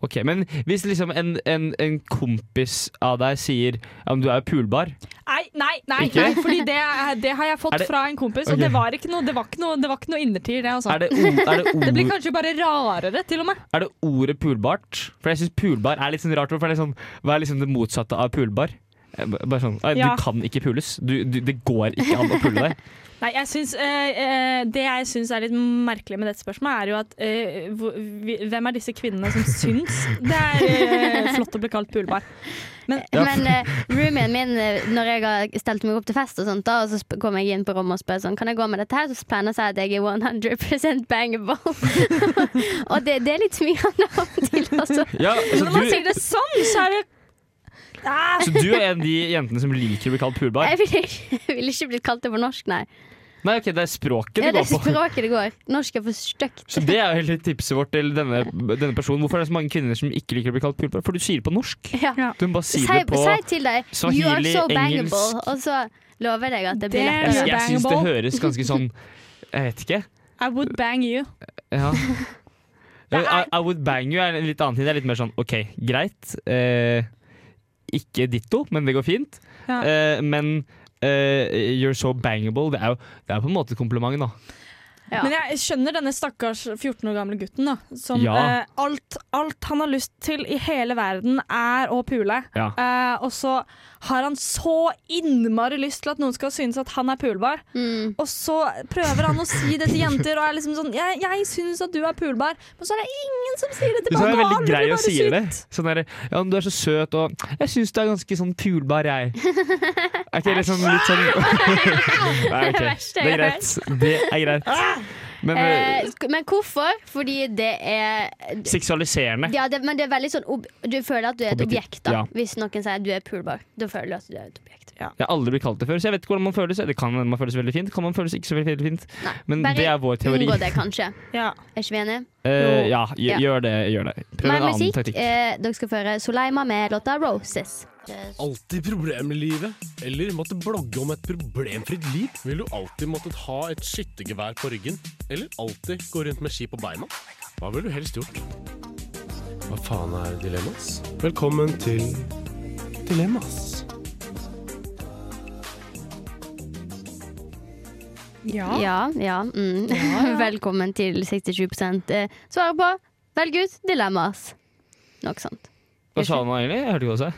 Ok, Men hvis liksom en, en, en kompis av deg sier ja, men du er jo pulbar
Nei, nei, nei,
Ikke?
nei fordi det, er- det har jeg fått
Er det-
fra en kompis, og
Ok.
det var ikke noe, det var ikke noe, det var ikke noe innertier, det. Altså.
er det, o- er,
<laughs>
det
Det blir
ord,
kanskje bare rarere, til og med.
er det ordet pulbart? For jeg syns pulbar er litt sånn rart. For det er litt sånn, hva er liksom det motsatte av pulbar? Eh, b- Bare sånn, «Nei,
Ja.
Du kan ikke pules. Du, du, det går ikke an å pule
<laughs>
deg.
Nei, jeg syns, eh, eh, det jeg syns er litt merkelig med dette spørsmålet, er jo at eh, hvor- vi- hvem er disse kvinnene som syns det er eh, flott å bli kalt pulbar?
<laughs> Ja.
Men eh, roomien min, eh, når jeg har stelt meg opp til fest, og sånt da, og så sp- kommer jeg inn på rommet og spør sånn, kan jeg gå med dette her, så pleier han å si at jeg er 100 bangable. <laughs> og det, det er litt smigende av og til, altså.
Ja, altså,
Når man
du-
sier det sånn, så er det ah,
Så du er en av de jentene som liker å bli kalt pulbar?
Jeg ville ikke, jeg vil ikke blitt kalt det på norsk, nei.
Nei, ok, det er språket
Ja,
det går
det er <laughs>
på.
språket det går. Norsk er for stygt.
Så det er jo hele tipset vårt til denne, denne personen. Hvorfor er det så mange kvinner som ikke liker å bli kalt pulbar? For du sier det på norsk.
Ja.
Du må bare si
Si,
det på
si til deg You are
swahili,
so
engelsk.
bangable, og så lover jeg deg at det blir
Det-
Jeg,
lettere.
jeg syns det
Bangable.
høres ganske sånn Jeg vet ikke.
I would bang you.
Ja. I, I would bang you er en litt annen ting. Det er litt mer sånn OK, greit. Eh, ikke ditto, men det går fint.
Ja.
Eh, men eh, you're so bangable. Det er jo det er på en måte et kompliment, da.
Ja.
Men jeg skjønner denne stakkars 14 år gamle gutten da, som
Ja.
eh, alt, alt han har lyst til i hele verden er å pule.
Ja.
Eh, og så har han så innmari lyst til at noen skal synes at han er pulbar.
Mm.
Og så prøver han å si det til jenter og er liksom sånn Jeg, jeg syns at du er pulbar. Men så er det ingen som sier det
Du
tilbake.
er
og
veldig
han blir
grei
bare
og sier det.
sint.
Sånn der, ja, men du er så søt, og jeg syns du er ganske sånn pulbar, jeg. Er ikke det liksom litt sånn Nei, ok.
verste
Det
jeg
er
har
greit. Det er greit. Men,
Eh, sk- men hvorfor? Fordi det er
seksualiserende.
ja, det, men det er veldig sånn ob Du føler at du er et
Objektiv,
objekt da
ja.
Hvis noen sier at du er pulbar Da føler du at du er et objekt
Jeg har aldri blitt kalt det før, så jeg vet ikke hvordan man føler seg. Det kan man føles veldig fint, kan man føles ikke så veldig fint.
Nei,
Men
bare
Mm, det er vår teori.
Unngå det kanskje
Ja.
Er ikke vi enige?
Eh, ja, gj-
Ja.
gjør det. gjør det Prøv
Mer
en annen
musikk
taktikk.
eh, Dere skal føre Soleima med låta Roses
Alltid problemer i livet? Eller måtte blogge om et problemfritt liv? Vil du alltid måttet ha et skyttergevær på ryggen? Eller alltid gå rundt med ski på beina? Hva ville du helst gjort? Hva faen er dilemmas? Velkommen til Dilemmas.
Ja.
Ja, ja, mm. <laughs> Velkommen til 67% eh, Svaret på Velg ut dilemmas Nok sånt
Hva sa han nå egentlig? Jeg hørte ikke hva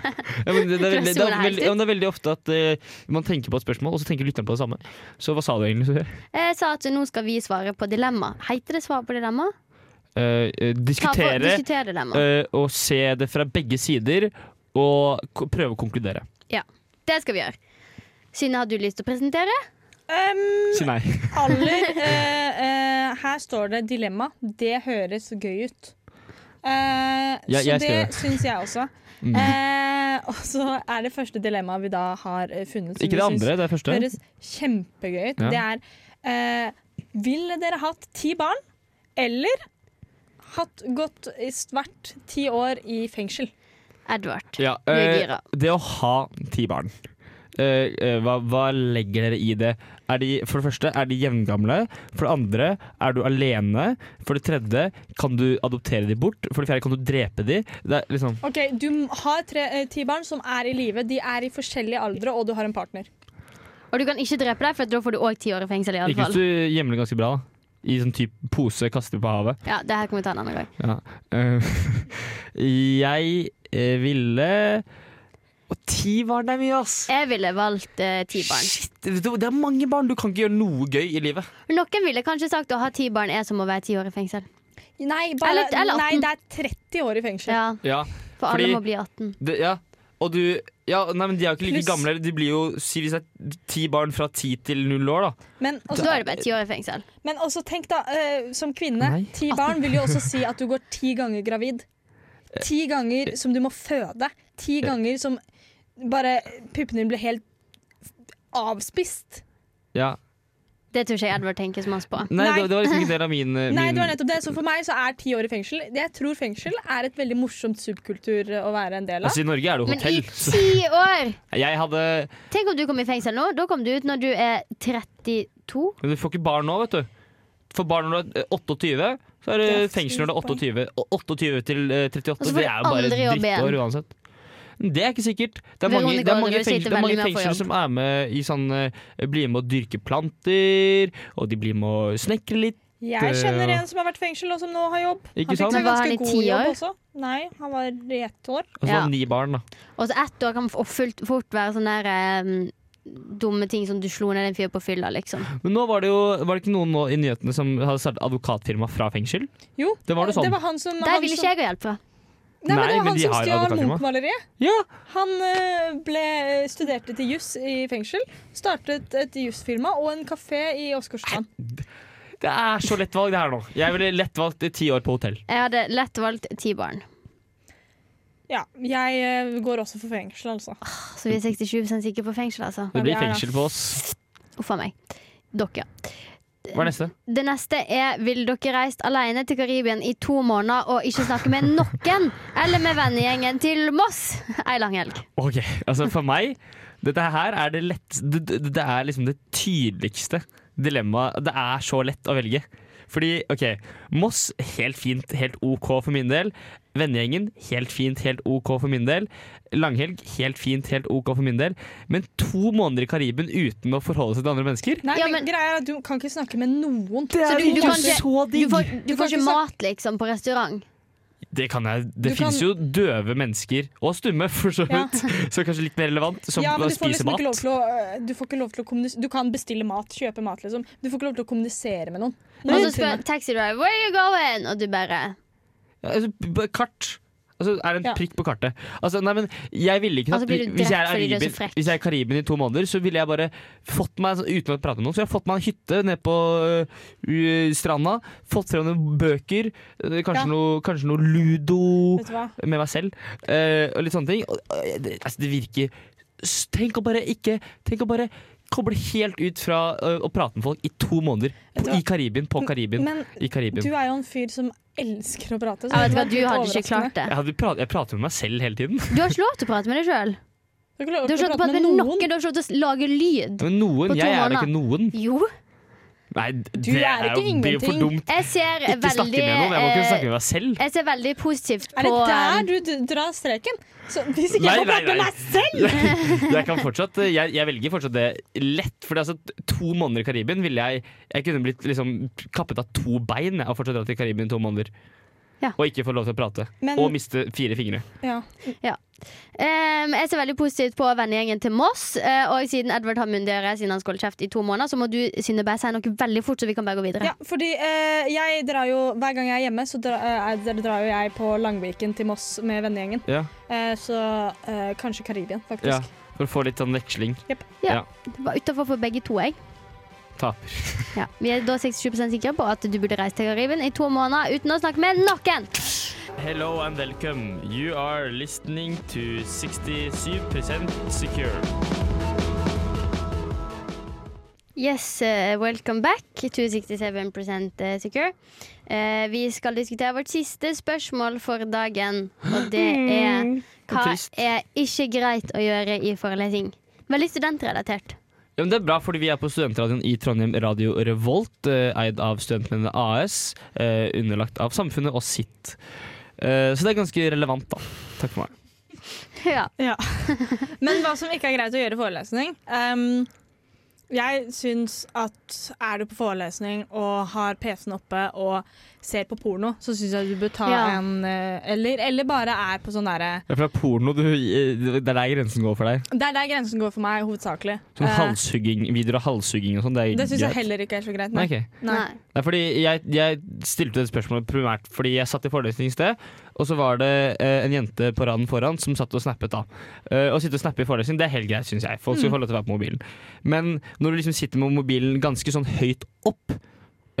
han sa. ja, men det, det, er veldig, det, er veldig, ja, men det er veldig ofte at eh, man tenker på et spørsmål, og så tenker lytteren på det samme. Så hva sa du egentlig? Sofie?
Jeg sa at nå skal vi svare på dilemma Heiter det svar på dilemma?
Eh, eh,
Ta for-
diskutere
Diskutere dilemma
eh, og se det fra begge sider, og ko- prøve å konkludere.
Det skal vi gjøre Synne, har du lyst til å presentere?
Um,
Si
<laughs>
nei.
aller eh, eh, Her står det dilemma. Det høres gøy ut. Eh, så
Ja, jeg
det
skrev det. Mm.
syns jeg også. Eh, og så er det første dilemmaet vi da har eh, funnet. som
Ikke
vi
det
syns
andre, det er første.
høres kjempegøy ut.
Ja.
Det er eh, Ville dere hatt ti barn eller hatt gått i hvert ti år i fengsel?
Edvard
Ja,
Du er
eh,
gira.
det å ha ti barn, eh, eh, hva, hva legger dere i det? Er de, for det første, er de jevngamle? For det andre, er du alene? For det tredje, kan du adoptere de bort? For det fjerde, kan du drepe de? Det er liksom
Ok, Du m- har tre, eh, ti barn som er i live. De er i forskjellige aldre, og du har en partner.
Og du kan ikke drepe deg, for da får du òg ti år i fengsel. i alle
Ikke hvis
fall
du gjemmer det ganske bra, da. I sånn type pose, kaster på havet.
Ja, det her kan vi ta en annen gang.
Ja. Eh, <laughs> jeg eh, ville Og ti barn er mye, ass!
Jeg ville valgt eh, ti barn.
Shit, det det er mange barn! Du kan ikke gjøre noe gøy i livet.
Men Noen ville kanskje sagt å ha ti barn er som å være ti år i fengsel.
Nei, bare,
Eller- eller
nei,
atten.
det er 30 år i fengsel.
Ja,
Ja,
For alle
Fordi-
må bli 18.
det, ja. Og du ja, nei, men De er jo ikke like
Pluss-
gamle. De blir jo si hvis det er ti barn fra ti til null år. da
Men altså,
Og
også,
da er det bare ti år i fengsel.
men også tenk, da. eh, som kvinne,
Nei.
ti barn vil jo også si at du går ti ganger gravid. Ti ganger som du må føde. Ti ganger som bare puppene dine blir helt avspist.
ja.
Det tror ikke jeg Edvard tenker så masse på.
Nei,
Nei.
Det, det var liksom ikke del av min, eh, min
Nei, det var nettopp det. Så for meg så er ti år i fengsel Jeg tror fengsel er et veldig morsomt subkultur å være en del av.
Altså, I Norge er det jo
Men i
hotell. Så
ti år!
jeg hadde
Tenk om du kom i fengsel nå. Da kom du ut når du er 32.
Men du får ikke barn nå, vet du. For barn når du er eh, 28, så er det
Det er
fengsel når du er
sykt
28. Og 28 til eh, 38,
Og så får
det er
du
jo bare
aldri jobb igjen.
drittår uansett. Det er ikke sikkert. Det er
Veronica
mange, det er mange, fengsel,
Alderud sliter
det er mange
veldig med å få
fengsler
jobb.
som er med i sånn eh, Blir med å dyrke planter, og de blir med å snekre litt.
Jeg kjenner en som har vært i fengsel, og som nå har jobb.
Ikke
han
sant?
fikk seg
Men var han i
ganske god
ti år?
jobb også. Nei, han var i ett år.
Og så
Ja.
har han ni barn, da.
Og så ett år kan f- og fullt, fort være sånne der, em, dumme ting som du slo ned en fyr på fylla, liksom.
Men nå var det jo Var det ikke noen nå i nyhetene som hadde startet advokatfirma fra fengsel?
Jo,
Det var det
Eh,
sånn.
han som,
Der
han
vil ikke
som,
jeg ha hjelp fra.
nei, men
Nei,
det var
men
han
de
som
har jo
stjal
advokatfirma.
Munch-maleriet.
Ja!
Han eh, ble, studerte til juss i fengsel, startet et jussfirma og en kafé i Åsgårdstrand.
Det er så lett valg, det her nå. Jeg ville lett valgt ti år på hotell.
Jeg hadde lett valgt ti barn.
Ja, jeg eh, går også for fengsel, altså.
Så
Mm.
vi er 67 sikre på fengsel, altså.
Det
Ja,
blir
det er
fengsel på oss.
Uff a meg. Dere.
Hva er neste?
Det neste er Vil dere reist alene til Karibien i to måneder og ikke snakke med noen eller med vennegjengen til Moss ei lang helg?
Ok, altså For meg Dette her er det lett Det, det, det er liksom det tydeligste dilemmaet. Det er så lett å velge. Fordi, OK Moss, helt fint, helt OK for min del. Vennegjengen, helt fint, helt OK for min del. Langhelg, helt fint, helt OK for min del. Men to måneder i Karibien uten å forholde seg til andre mennesker
Nei,
Ja,
men,
men-
greia er at du kan ikke snakke med noen.
Det
Så
er
du- du
jo
kan ikke-
så
Du
digg!
får, du
Du kan
får
ikke
ikke
snakke-
mat, liksom, på restaurant.
Det kan jeg. Det
Du kan-
fins jo døve mennesker, og stumme for så
Ja.
vidt, <laughs> så kanskje litt mer relevant, som
Ja, men du får
spiser
liksom ikke lov
mat.
til å, øh, du får ikke lov til å kommunisere Du kan bestille mat, kjøpe mat, liksom. Du får ikke lov til å kommunisere med noen.
Og så spør taxidriver 'Where are you going?' og du bare
Ja, altså, b- Kart Og så er det en
Ja.
prikk på kartet. Altså, nei, men jeg ville ikke
Altså,
tatt-
blir du
hvis, jeg
drept
er
fordi du er så
Karibien-
frekk?
hvis jeg er i Karibien i to måneder, så ville jeg bare fått meg Uten å prate med noen, så jeg har fått meg en hytte nede på øh, stranda. Fått frem noen bøker, øh,
Ja.
kanskje, noe, kanskje noe ludo
Vet du hva?
med meg selv. eh, og litt sånne ting. Og, eh, det, altså, det virker s- Tenk å bare ikke Tenk å bare koble helt ut fra eh, å prate med folk i to måneder.
Vet du
På, I Karibien, på Karibien.
Men
I Karibien.
du er jo en fyr som elsker å prate. så
Jeg vet
det
ikke,
var
Du
litt
hadde ikke
overraskende.
klart det.
jeg, hadde prat, jeg prater med meg selv hele tiden.
<laughs>
Du har ikke lov til å prate med deg sjøl.
Du har ikke lov
Du
til
har ikke lov
å
til å prate med noen. Du har ikke lov til å lage lyd.
Men noen,
På to
jeg er da
måneder.
ikke noen.
Jo.
Nei, d-
Du
det
er ikke
jo- blir jo for
ingenting.
dumt.
Jeg ser
Ikke snakke
veldig
med noen. Jeg må kunne
eh,
snakke med meg selv.
Jeg ser veldig positivt på
Er det
eh,
der du d- drar streken? Så hvis ikke
Nei,
jeg får
nei,
prate med
nei.
meg selv!
<laughs> Jeg, kan fortsatt, jeg, jeg velger fortsatt det lett. For altså, to måneder i Karibien ville jeg Jeg kunne blitt liksom kappet av to bein jeg, og fortsatt dratt til Karibien i to måneder.
Ja.
Og ikke få lov til å prate.
Men-
og miste fire fingre.
Ja.
Ehm, jeg ser veldig positivt på vennegjengen til Moss. eh, og siden Edvard har munndøre siden han skal holde kjeft i to måneder, så må du Synnøve, si noe veldig fort, så vi kan bare gå videre.
ja, fordi eh, jeg drar jo Hver gang jeg er hjemme, så drar, eh, jeg- drar jo jeg på Langviken til Moss med vennegjengen.
Ja.
Eh, så eh, kanskje Karibien, faktisk.
Ja, for å få litt sånn veksling.
Det var utenfor for begge to, jeg.
Taper.
Ja. Vi er da 67 sikre på at du burde reise til Karibien i to måneder uten å snakke med noen.
Hello and welcome. You are listening to 67 secure.
Yes, eh, welcome back to 67 secure. Eh, vi skal diskutere vårt siste spørsmål for dagen, og <gasps> det er hva
trist.
er ikke greit å gjøre i forelesning? Veldig studentrelatert.
Ja, men det er bra, fordi vi er på studentradioen i Trondheim Radio Revolt, eh, eid av Studentmennene AS, eh, underlagt av Samfunnet og sitt. Eh, så det er ganske relevant, da. Takk for meg.
Ja.
Men hva som ikke er greit å gjøre i forelesning ehm, Jeg syns at er du på forelesning og har PC-en oppe og ser på porno, så syns jeg du bør ta
Ja.
en eh, eller, eller bare er på sånn derre
Det er fra porno eh, det er der grensen går for deg.
Det er der grensen går for meg, hovedsakelig.
Sånn
Eh,
halshugging, videoer av halshugging og sånn. Det er
det syns jeg
greit.
heller ikke er så greit.
Nei,
Nei.
ok.
Nei.
Nei.
Nei, fordi jeg, jeg stilte det spørsmålet primært fordi jeg satt i forelesning i sted, og så var det eh, en jente på raden foran som satt og snappet. da. Eh, å sitte og snappe i forelesning det er helt greit, syns jeg. Folk
Mm.
skal få lov til å være på mobilen. Men når du liksom sitter med mobilen ganske sånn høyt opp,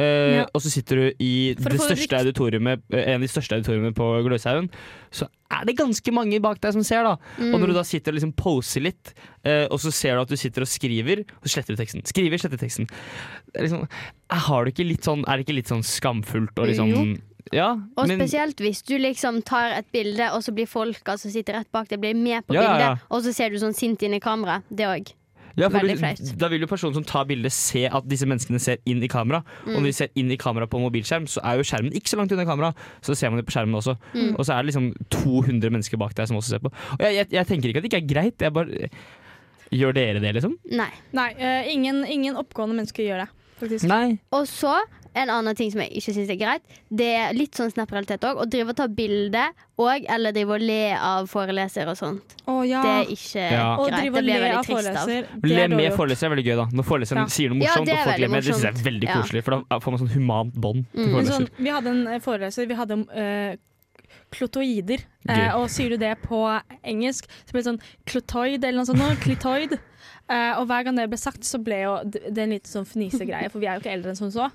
eh,
Ja.
og så sitter du i
For å
det
få
største
rikt-
auditoriumet, eh, en av de største auditoriene på Gløshaugen, så er det ganske mange bak deg som ser, da.
Mm.
Og når du da sitter og liksom poser litt, eh, og så ser du at du sitter og skriver, og sletter du teksten. Skriver, sletter teksten. Det er, liksom, jeg har det ikke litt sånn, er det ikke litt sånn skamfullt og liksom Ja,
Og
men
spesielt hvis du liksom tar et bilde, og så blir folka som sitter rett bak deg, blir med på
Ja, ja,
bildet,
ja.
og så ser du sånn sint inn i kameraet. Det òg.
ja, for
veldig
du-
flaut.
Da vil jo personen som tar bildet, se at disse menneskene ser inn i kamera.
Mm.
Og når de ser inn i kamera på mobilskjerm, så er jo skjermen ikke så langt unna kamera. Så ser man det på skjermen også.
Mm.
Og så er det liksom 200 mennesker bak deg som også ser på. Og jeg, jeg, jeg tenker ikke at det ikke er greit, jeg bare Gjør dere det, liksom?
Nei.
Nei, eh, ingen, ingen oppgående mennesker gjør det. Faktisk.
Nei.
Og så en annen ting som jeg ikke syns er greit, det er litt sånn Snap-realitet òg. Å drive og ta bilde og eller drive og le av foreleser og sånt.
Å ja.
Det er ikke
Ja.
Ah. Å
greit.
drive
Det
og
blir jeg
le
veldig
av
trist altså. av.
foreleser, det
Le
er dårlig
med
gjort.
forelesere er veldig gøy, da. Når foreleseren
Ja.
sier noe
Ja,
morsomt,
det
og
er
folk
veldig
ler med, det synes jeg er
morsomt.
veldig
Ja.
koselig. For da får man sånn humant bånd til
Men
foreleser.
sånn, vi hadde en eh, foreleser, vi hadde om eh, klotoider. Eh,
Gøy.
og sier du det på engelsk, så blir det sånn klotoid eller noe sånt. nå,
<laughs>
Klitoid. Eh, og hver gang det ble sagt, så ble jo d- det en liten sånn fnisegreie, for vi er jo ikke eldre enn som så.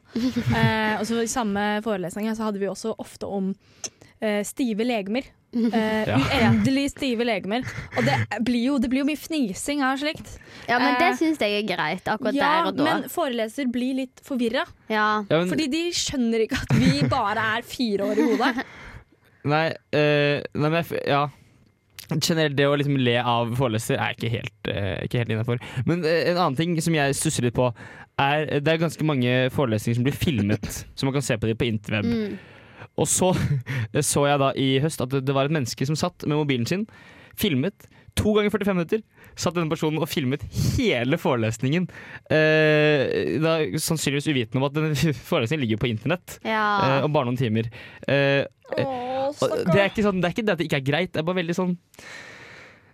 Eh, og så I samme forelesning her så hadde vi også ofte om eh, stive
<laughs>
legemer. Eh,
Ja.
Uendelig stive legemer. Og det blir jo, det blir jo mye fnising av slikt.
Ja, men det
Eh,
syns jeg er greit akkurat
Ja,
der og da.
men foreleser blir litt forvirra.
Ja.
Ja, men-
Fordi de skjønner ikke at vi bare er fire år i hodet.
Nei, eh, nei men jeg, f- ja. Generelt det å liksom le av foreleser er jeg ikke helt, uh, ikke helt innafor. Men eh, en annen ting som jeg stusser litt på, er eh, det er ganske mange forelesninger som blir filmet. så man kan se på dem på interweb.
Mm.
Eh, Og så <laughs> så jeg da i høst at det, det var et menneske som satt med mobilen sin, filmet. To ganger 45 minutter satt denne personen og filmet hele forelesningen. Eh, da, sannsynligvis uvitende om at denne <laughs> forelesningen ligger på internett
ja.
eh, om bare noen timer. Eh, og det, er ikke sånn, det er ikke det at det ikke er greit, det er bare veldig sånn <laughs>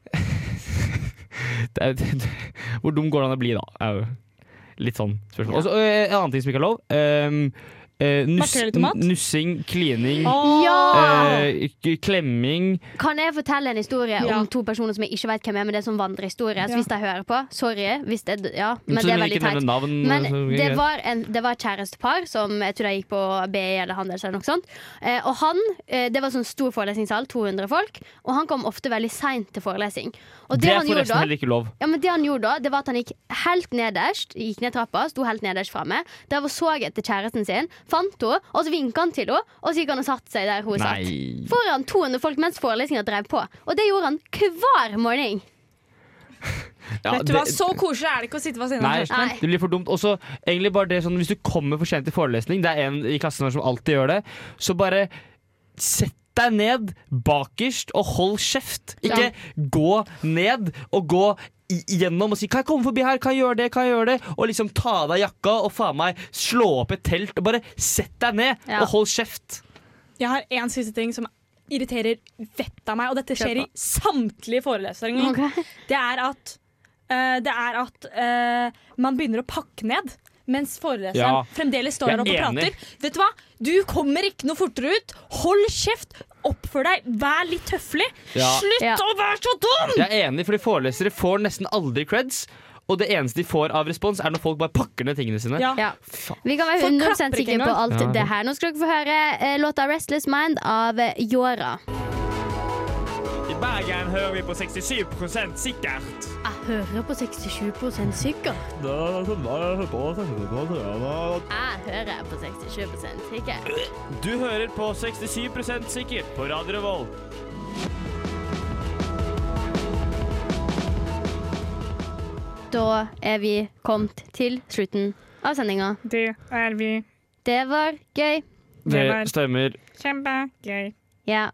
det er, det, det, Hvor dum går det an å bli, da? Er jo litt sånn spørsmål. Og så, eh, en annen ting som ikke er lov. ehm, eh, nus
Makrell i tomat?
nussing, klining,
Ja!
eh, k- klemming
Kan jeg fortelle en historie
Ja.
om to personer som jeg ikke vet hvem er, men det er sånn vandrehistorie? Så
Ja.
hvis de hører på, sorry. Hvis det, ja, men
Så
det er
lenge
veldig
ikke nevner
teit.
Navn,
Men
så er
det
greit.
var, en, det var et kjærestepar som jeg tror jeg gikk på BI eller Handels eller noe sånt. Eh, og han, eh, Det var sånn stor forelesningssal, 200 folk, og han kom ofte veldig seint til forelesning. Og
det
det,
er
han gjorde
forresten
da
heller ikke lov.
ja, men det han gjorde da, det var at han gikk helt nederst Gikk ned trappa, sto helt nederst framme. Der var så etter kjæresten sin, fant henne, og så vinka han til henne. Og så gikk han og satte seg der hun satt.
Nei.
Foran 200 folk mens forelesninga drev på. Og det gjorde han hver morgen.
Ja,
Vet du hva, Så koselig er det ikke å sitte ved siden av
Nei,
kjæresten din.
det blir for dumt. Også, egentlig bare det sånn, Hvis du kommer for sent til forelesning, det er en i klassen vår som alltid gjør det, så bare sett deg ned bakerst og hold kjeft. Ikke
Ja.
gå ned og gå i- gjennom og si 'kan jeg komme forbi her', 'kan jeg gjøre det', 'kan jeg gjøre det', og liksom ta av deg jakka og faen meg slå opp et telt og bare sett deg ned
Ja.
og hold kjeft.
Jeg har en siste ting som irriterer vettet av meg, og dette skjer
Kjør
i samtlige forelesninger. Det er at, eh, det er at eh, man begynner å pakke ned. Mens foreleseren
Ja.
fremdeles står
Jeg
der oppe
er
og
enig.
prater. Vet Du hva? Du kommer ikke noe fortere ut! Hold kjeft! Oppfør deg! Vær litt høflig!
Ja.
Slutt
Ja.
å være så dum!
Jeg er enig, fordi forelesere får nesten aldri creds, og det eneste de får av respons, er når folk bare pakker ned tingene sine.
Ja.
Ja.
Faen.
Vi kan være
Folk
100
klapper ikke
sikre på
engang.
alt
Ja.
det her. Nå skal dere få høre eh, låta 'Restless Mind' av eh, Yora.
I Bergen hører vi på 67 sikkert.
Jeg hører på 67 sikkert. Jeg hører på 67 sikkert.
Du hører på 67 sikkert på Radio Revolt.
Da er vi kommet til slutten av sendinga.
Det er vi.
Det var gøy.
Det var-
Det stemmer.
Kjempegøy.
Ja.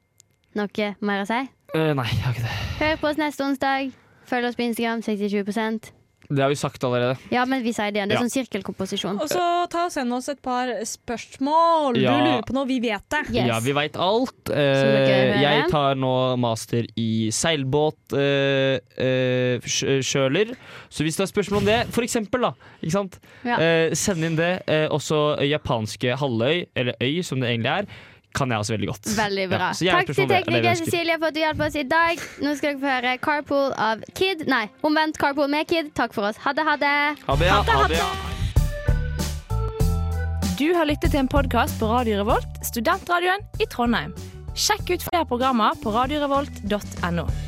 Noe mer å si?
Eh, nei, jeg har ikke det.
Hør på oss neste onsdag. Følg oss på Instagram 67
Det har vi sagt allerede.
Ja, men vi sier det igjen. Det er
Ja.
sånn sirkelkomposisjon.
Og så ta og send oss et par spørsmål.
Ja.
Du lurer på noe, vi vet det.
Yes.
Ja, vi veit alt.
dere
Eh,
hører.
jeg tar nå master i seilbåt eh, eh, sj- kjøler. Så hvis du har spørsmål om det, for eksempel, da, ikke sant?
Ja.
Eh, send inn det. Eh, også japanske halvøy, eller øy som det egentlig er, kan jeg også veldig godt.
Veldig bra.
Ja, så gjerne
Takk til
spørsmål om det, eller
tekniker
ønsker.
Cecilie for at du hjalp oss i dag. Nå skal dere få høre Carpool av Kid. Nei, omvendt Carpool med Kid. Takk for oss. Ha det, ha det.
Ha det, ja. Ha det, ja.
Du har lyttet til en podkast på Radio Revolt, studentradioen i Trondheim. Sjekk ut flere programmer på radiorevolt.no.